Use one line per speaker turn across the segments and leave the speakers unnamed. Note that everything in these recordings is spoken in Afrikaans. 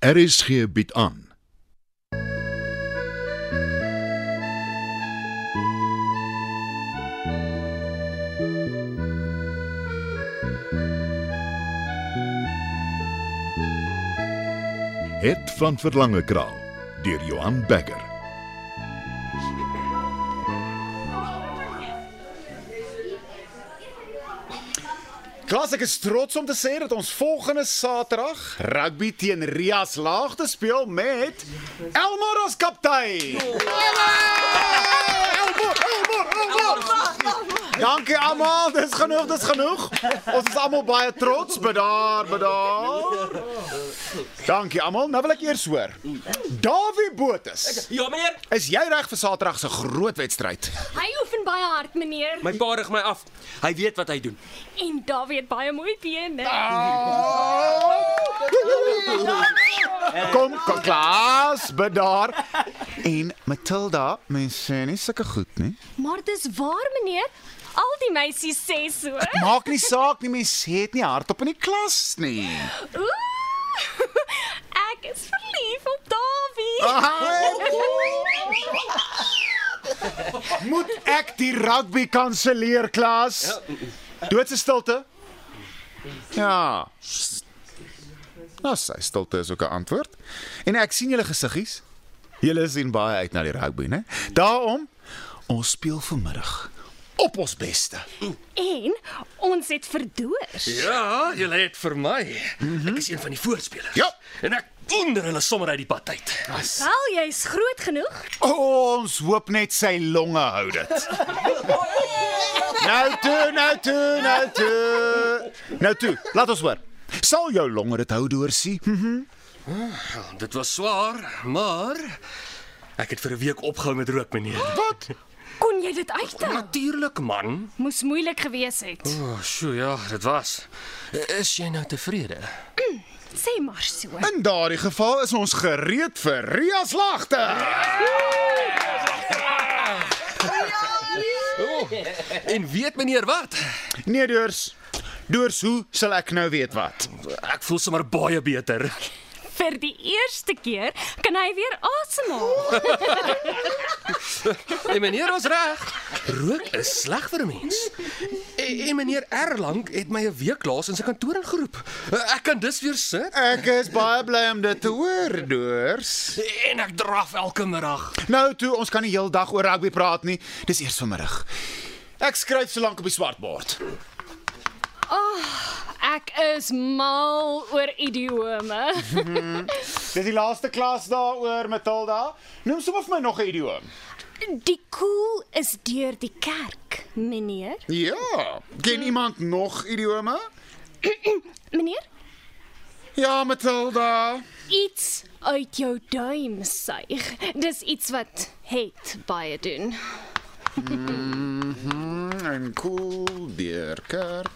RSG bied aan. Het van Verlange Kraal deur Johan Becker.
Klas, ek is trots om te sê dat ons volgende Saterdag rugby teen Rias Laagte speel met Elmar as kaptein. Elmar, Elmar, Elmar. Dankie almal, dis genoeg, dis genoeg. Ons is almal baie trots, bedaar, bedaar. Dankie almal. Nou wil ek eers hoor. Dawie Botha,
Ja, meneer.
is jy reg vir Saterdag se groot wedstryd?
Hy oefen baie hard, meneer.
My pa rig my af. Hy weet wat hy doen.
En Dawie het baie mooi bene.
Ah. Kom, kom Klaas, bedaar. En Matilda, mens sê nie sulke goed nie.
Maar dis waar, meneer. Al die meisies sê so.
Maak nie saak nie, mens sê dit nie hardop in die klas nie.
Ooh. Ek is verlief op
Ah.
Dawie.
Moet ek die rugby kanselleer, Klaas? Doodse stilte. Ja. Nou, sy stilte is ook 'n antwoord. En ek sien julle gesiggies. Julle sien baie uit na die rugby, né? Daarom ons speel vanmiddag op ons beste.
En ons het verdoors.
Ja, jy het vir my. Mm -hmm. Ek is een van die voorspelers.
Ja.
En ek wonder hulle sommer uit die pad uit.
Wel, jy's groot genoeg.
O, ons hoop net sy longe hou dit. nou toe, nou toe, nou toe. Nou toe, laat ons hoor. Sal jou longe dit hou deursie? Hm,
Ja, dit was swaar, maar ek het vir 'n week opgehou met rook, meneer.
Wat?
Kon jy dit uithou?
Natuurlik, man.
Moes moeilik gewees het.
O, oh, sjoe, ja, dit was. Is jy nou tevrede?
Sê maar so.
In daardie geval is ons gereed vir Ria se lagte.
En weet meneer wat?
Nee, deurs. Deurs hoe sal ek nou weet wat?
Ek voel sommer baie beter.
Vir die eerste keer kan hy weer asemhaal.
En meneer was reg. Rook is sleg vir 'n mens. En, en meneer Erlang het my 'n week laas in sy kantoor ingeroep. Ek kan dus weer sit
Ek is baie bly om dit te hoor, deurs.
en ek draf elke middag.
Nou toe, ons kan die heel dag oor rugby praat nie. Dis eers vanmiddag. Ek skryf so lank op die swartbord.
Ek is mal oor idiome.
Dis die laaste klas daaroor, Matilda. Noem sommer vir my nog 'n idioom.
Die koel is deur die kerk, meneer.
Ja, ken iemand nog idiome?
Meneer,
Ja, Matilda.
iets uit jou duim suig. Dis iets wat het baie doen.
En cool deur kerk.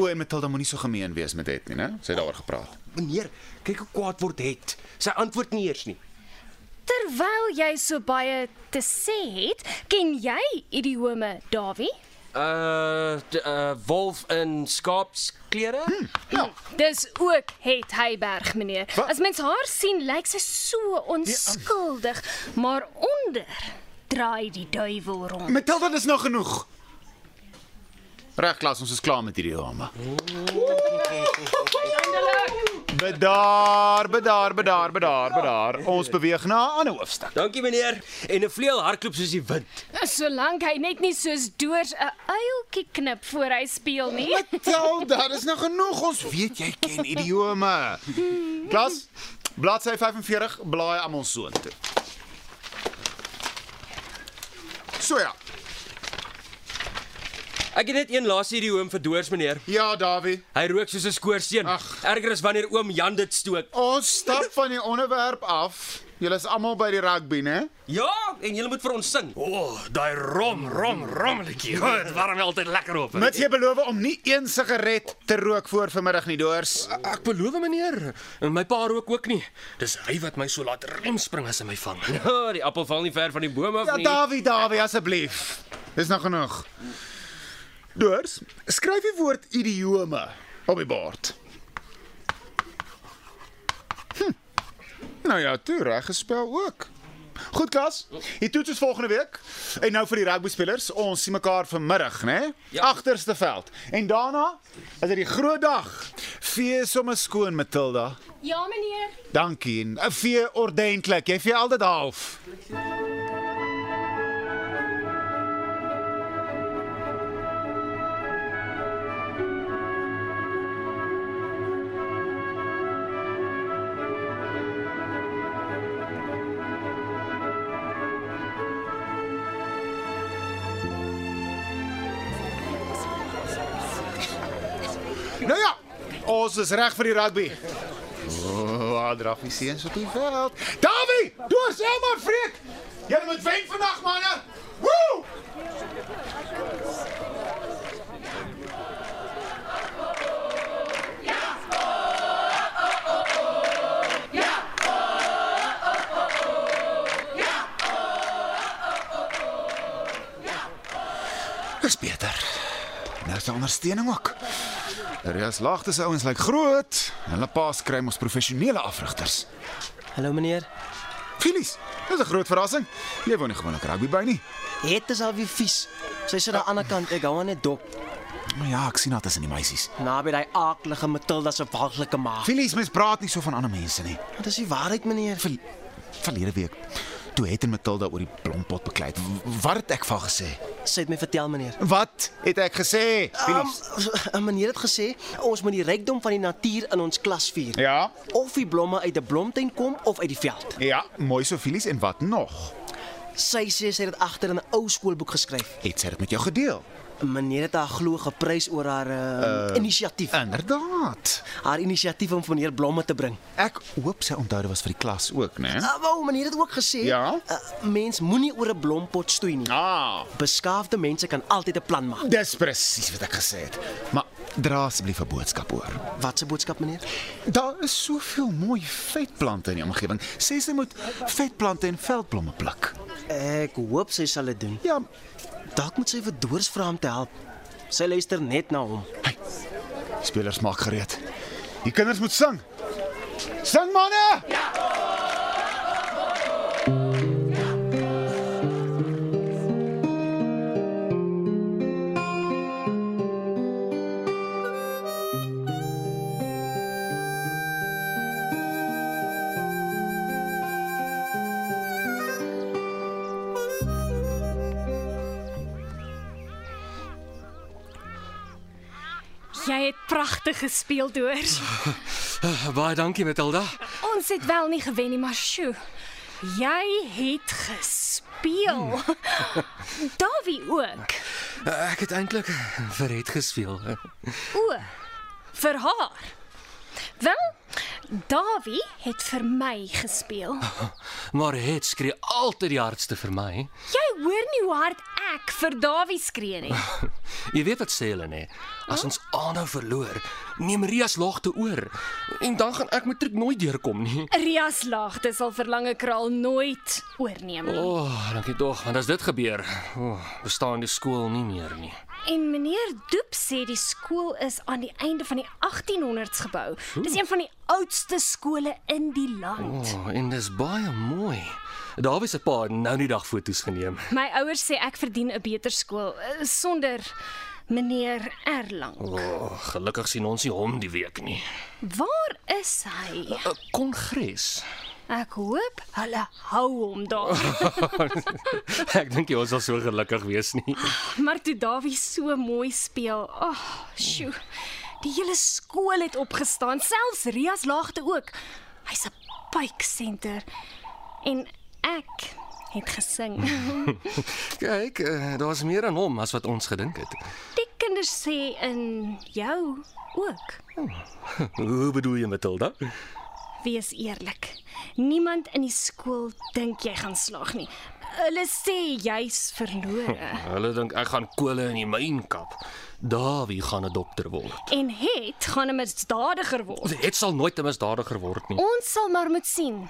O, en Matilda moenie so gemeen wees met dit nie, né? Sy het daaroor gepraat.
Meneer, kyk hoe kwaad word het. Sy antwoord nie eers nie.
Terwyl jy so baie te sê het, ken jy idiome, Dawie?
Uh, uh wolf in skaapsklere? Hm.
Dis ook het Heyberg, meneer. As mens haar sien, lyk sy so onskuldig, maar onder draai die duiwel rond.
Matilda, dis nou genoeg. Reg klas, ons is klaar met hierdie drama. Bedaar, bedaar, bedaar, bedaar, bedaar. Ons beweeg na 'n ander hoofstuk.
Dankie meneer. En 'n vleuel hardloop soos die wind.
Solank hy net nie soos doors 'n uiltjie knip voor hy speel nie.
Matilda, dis nou genoeg. Ons weet jy ken idiome. Klas, bladsy 45, blaai almal soontoe. So ja.
Ek het net een laaste idioom vir doors meneer.
Ja, Dawie.
Hy rook soos 'n skoorseun.
Ag.
Erger is wanneer oom Jan dit stook.
Ons stap van die onderwerp af. Julle is almal by die rugby, né?
Ja, en jy moet vir ons sing. O, oh, daai rom rom rommetjie. Dit warm my altyd lekker op.
Mits jy beloof om nie een sigaret te rook voor vanmiddag nie, Doors.
Ek beloof meneer, en my pa rook ook nie. Dis hy wat my so laat rem spring as hy my vang. Ja, die appel val nie ver van die boom af
Ja, Dawie, Dawie, asseblief. Dis nog genoeg. Doors, skryf die woord idiome op die bord. Hm. Nou ja, toe reg gespel ook. Goed klas. Die toets is volgende week. En nou vir die rugby spelers, ons sien mekaar vanmiddag, né?
Ja.
Agterste veld. En daarna is dit die groot dag. Vee sommer skoon Matilda.
Ja, meneer.
Dankie. En eh, vee ordentlik. Jy vee altyd half. Nou ja, ons is reg vir die rugby. Oh, draf die seuns op die veld. Davie, deur Selma Freek. Jy moet wen vandag, manne. Woe! Dis beter. Nou is daar ondersteuning ook. Rias lagte se ouens lyk like groot. Hulle paas kry mos professionele afrigters.
Hallo meneer.
Filies, dis 'n groot verrassing. Jy woon nie gewoonlik rugby by nie.
Het is al weer vies. Sy sit aan die ander kant. Ek hou aan net dop.
Maar ja, ek sien dit is in die meisies.
Naby daai aaklige Matilda se waaglike maag.
Filies, mens praat nie so van ander mense nie.
Dit is die waarheid meneer.
Ver, verlede week toe het en Matilda oor die blompot beklei. het, w- Wat het ek van gesê?
Sy het my vertel meneer.
Wat het ek gesê?
Um, meneer het gesê ons moet die rykdom van die natuur in ons klas vier.
Ja.
Of die blomme uit 'n blomtuin kom of uit die veld.
Ja, mooi so Filies en wat nog?
Sy sê sy het dit agter in 'n ou skoolboek geskryf.
Het sy dit met jou gedeel?
Meneer het haar glo geprys oor haar
Eh,
uh, uh, inisiatief. Uh,
Inderdaad.
haar inisiatief om vir meneer blomme te bring.
Ek hoop sy onthou dit was vir die klas ook, né?
Uh, wou meneer het ook gesê,
Ja?
uh, mens moenie oor 'n blompot stoei nie.
Ah,
Beskaafde mense kan altyd 'n plan maak.
dis presies wat ek gesê het. Maar dra asseblief 'n boodskap oor.
Wat se boodskap meneer?
Daar is soveel mooi vetplante in die omgewing. Sê sy moet vetplante en veldblomme pluk.
Ek hoop sy sal dit doen.
Ja,
Dalk moet sy vir Doors vra om te help. Sy luister net na hom.
hey. Spelers maak gereed. Die kinders moet sing. Sing manne!
Jy het pragtig gespeel, Doors.
Baie dankie Matilda.
Ons het wel nie gewen nie, maar sjoe. Jy het gespeel. Davie ook.
Eh, Ek het eintlik verret gespeel. Eh,
O, vir haar. Wel, Davie het vir my gespeel.
Maar het skree altyd die hardste vir my.
Jy hoor nie hoe hard ek vir Davie skree nie.
Jy weet wat sê hulle nê? As ons aanhou verloor, neem Rias laagte oor en dan gaan ek matriek nooit deurkom nie.
Rias laagte sal verlange kraal nooit oorneem
O,
nie.
oh, dankie tog, want as dit gebeur, o, oh, bestaan die skool nie meer nie.
En meneer Doep sê die skool is aan die einde van die 1800s gebou. Dis een van die oudste skole in die land.
O, oh, en dis baie mooi. Daar was 'n paar nou die dag foto's geneem.
My ouers sê ek verdien 'n beter skool eh, sonder meneer Erlang.
O, oh, gelukkig sien ons nie hom die week nie.
Waar is hy?
'n Eh, Kongres.
Ek hoop hulle hou hom daar.
ek dink nie ons sal so gelukkig wees nie.
maar toe Dawie so mooi speel. Ag, oh, sjoe. Die hele skool het opgestaan, selfs Rias laagte ook. Hy's 'n pykcenter. En ek het gesing.
Kyk, eh, daar's meer aan hom as wat ons gedink het.
Die kinders sê in jou ook.
Hoe bedoel jy, Matilda?
Wees eerlik. Niemand in die skool dink jy gaan slaag nie. Hulle sê jy's verlore
Hulle dink ek gaan kole in die myn kap. Dawie gaan 'n dokter word.
en het gaan 'n misdadiger word.
Dit sal nooit 'n misdadiger word nie.
Ons sal maar moet sien.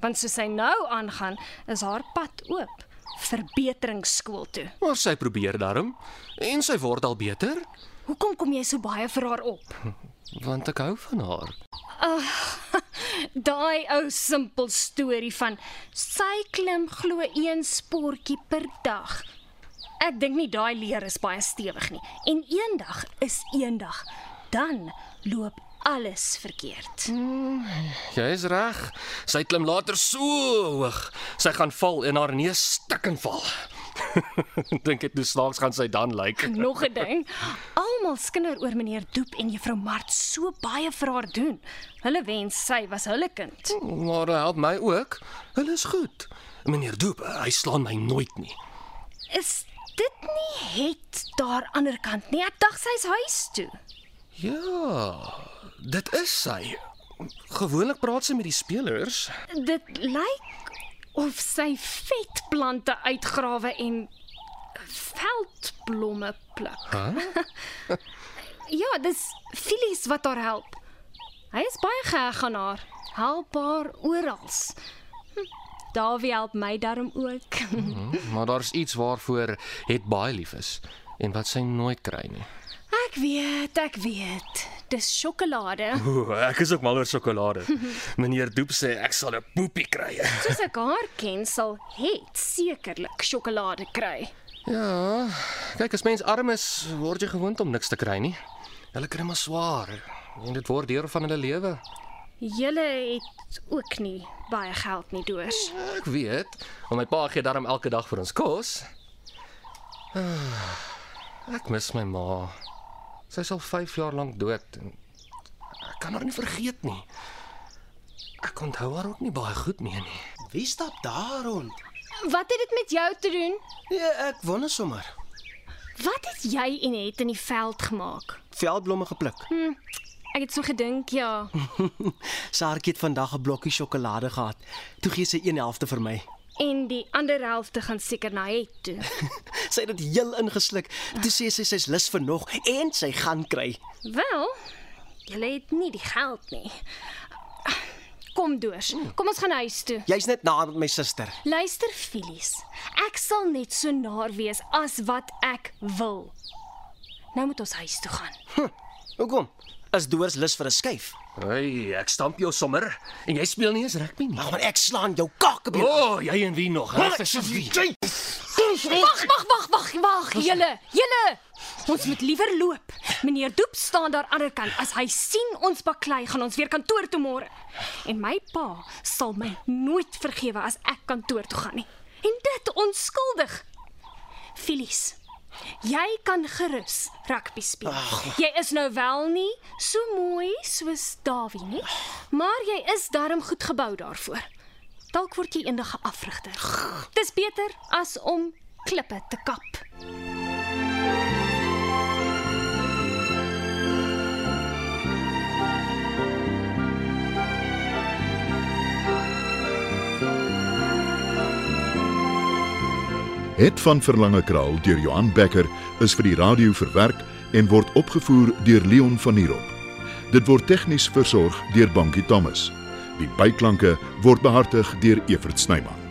Want soos sy nou aangaan, is haar pad oop verbeteringsskool toe.
Maar sy probeer daarom en sy word al beter.
Hoekom kom jy so baie vir haar op?
want ek hou van haar.
Daai ou simpel storie van sy klim glo een sportjie per dag. Ek dink nie daai leer is baie stewig nie. En eendag is eendag. Dan loop alles verkeerd.
Jy is reg. Sy klim later so hoog. Sy gaan val en haar neus stikken val. Dink dit hoe snaaks gaan sy dan lyk.
Nog 'n ding. Almal skinder oor meneer Doep en juffrou Mart so baie vir haar doen. Hulle wens sy was hulle kind.
Maar eh, help my ook. Hulle is goed. Meneer Doep, hy slaan my nooit nie.
Is dit nie het daar aan die ander kant nie? Ek dink sy's huis toe.
Ja, dit is sy. Gewoonlik praat sy met die spelers.
Dit lyk of sy vetplante uitgrawe en veldblomme pluk. Huh? ja, dis Phyllis wat haar help. Hy is baie geheg aan haar. Help haar oral. Hm, Dawie help my daarom ook.
Maar daar's iets waarvoor het baie lief is en wat sy nooit kry nie.
ek weet, ek weet. Dis sjokolade.
O, ek is ook mal oor sjokolade. Meneer Doep sê ek sal 'n poepie kry.
Soos ek haar ken, sal het sekerlik sjokolade kry.
Ja, kyk as mens arm is, word jy gewoond om niks te kry nie. Hulle kry maar swaar en dit word deel van hulle lewe.
Julle het ook nie baie geld nie, doors.
Ek weet, maar my pa gee daarom elke dag vir ons kos. Ah, Ek mis my ma. Sy is al 5 jaar lank dood en ek kan haar nie vergeet nie. Ek onthou haar ook nie baie goed meer nie.
Wie stap daar rond?
Wat het dit met jou te doen?
Nee, ek wonder sommer.
Wat het jy en het in die veld gemaak?
Veldblomme gepluk.
Ek het so gedink, ja.
Saartjie het vandag 'n blokkie sjokolade gehad. Toe gee sy een helfte vir my.
En die ander helfte gaan seker na het toe.
Sy het dit heel ingesluk. Toe sê sy sy's lus vir nog en sy gaan kry.
Wel, jy het nie die geld nie. Kom deurs. Kom ons gaan huis toe.
Jy's net na met my suster.
Luister, Filies. Ek sal net so naar wees as wat ek wil. Nou moet ons huis toe gaan.
Hoekom? Is Doors lus vir 'n skuif?
Hey, ek stamp jou sommer en jy speel nie eens rugby nie.
Ag man, ek slaan jou kakebeen.
O, oh, jy en wie nog? Regtig asseblief.
Wag, wag, wag, wag, wag, julle, julle. Ons moet liewer loop. Meneer Doep staan daar aan die ander kant. As hy sien ons baklei, gaan ons weer kantoor toe môre. En my pa sal my nooit vergewe as ek kantoor toe gaan nie. En dit onskuldig. Filies. Jy kan gerus rugby speel. Jy is nou wel nie so mooi soos Dawie nie, maar jy is darm goed gebou daarvoor. Dalk word jy eendag 'n afrigter. Dis beter as om klippe te kap.
Het van Verlange Kraal deur Johan Becker is vir die radio verwerk en word opgevoer deur Leon Van Heerop. Dit word tegnies versorg deur Bankie Thomas. Die byklanke word behartig deur Evert Snyman.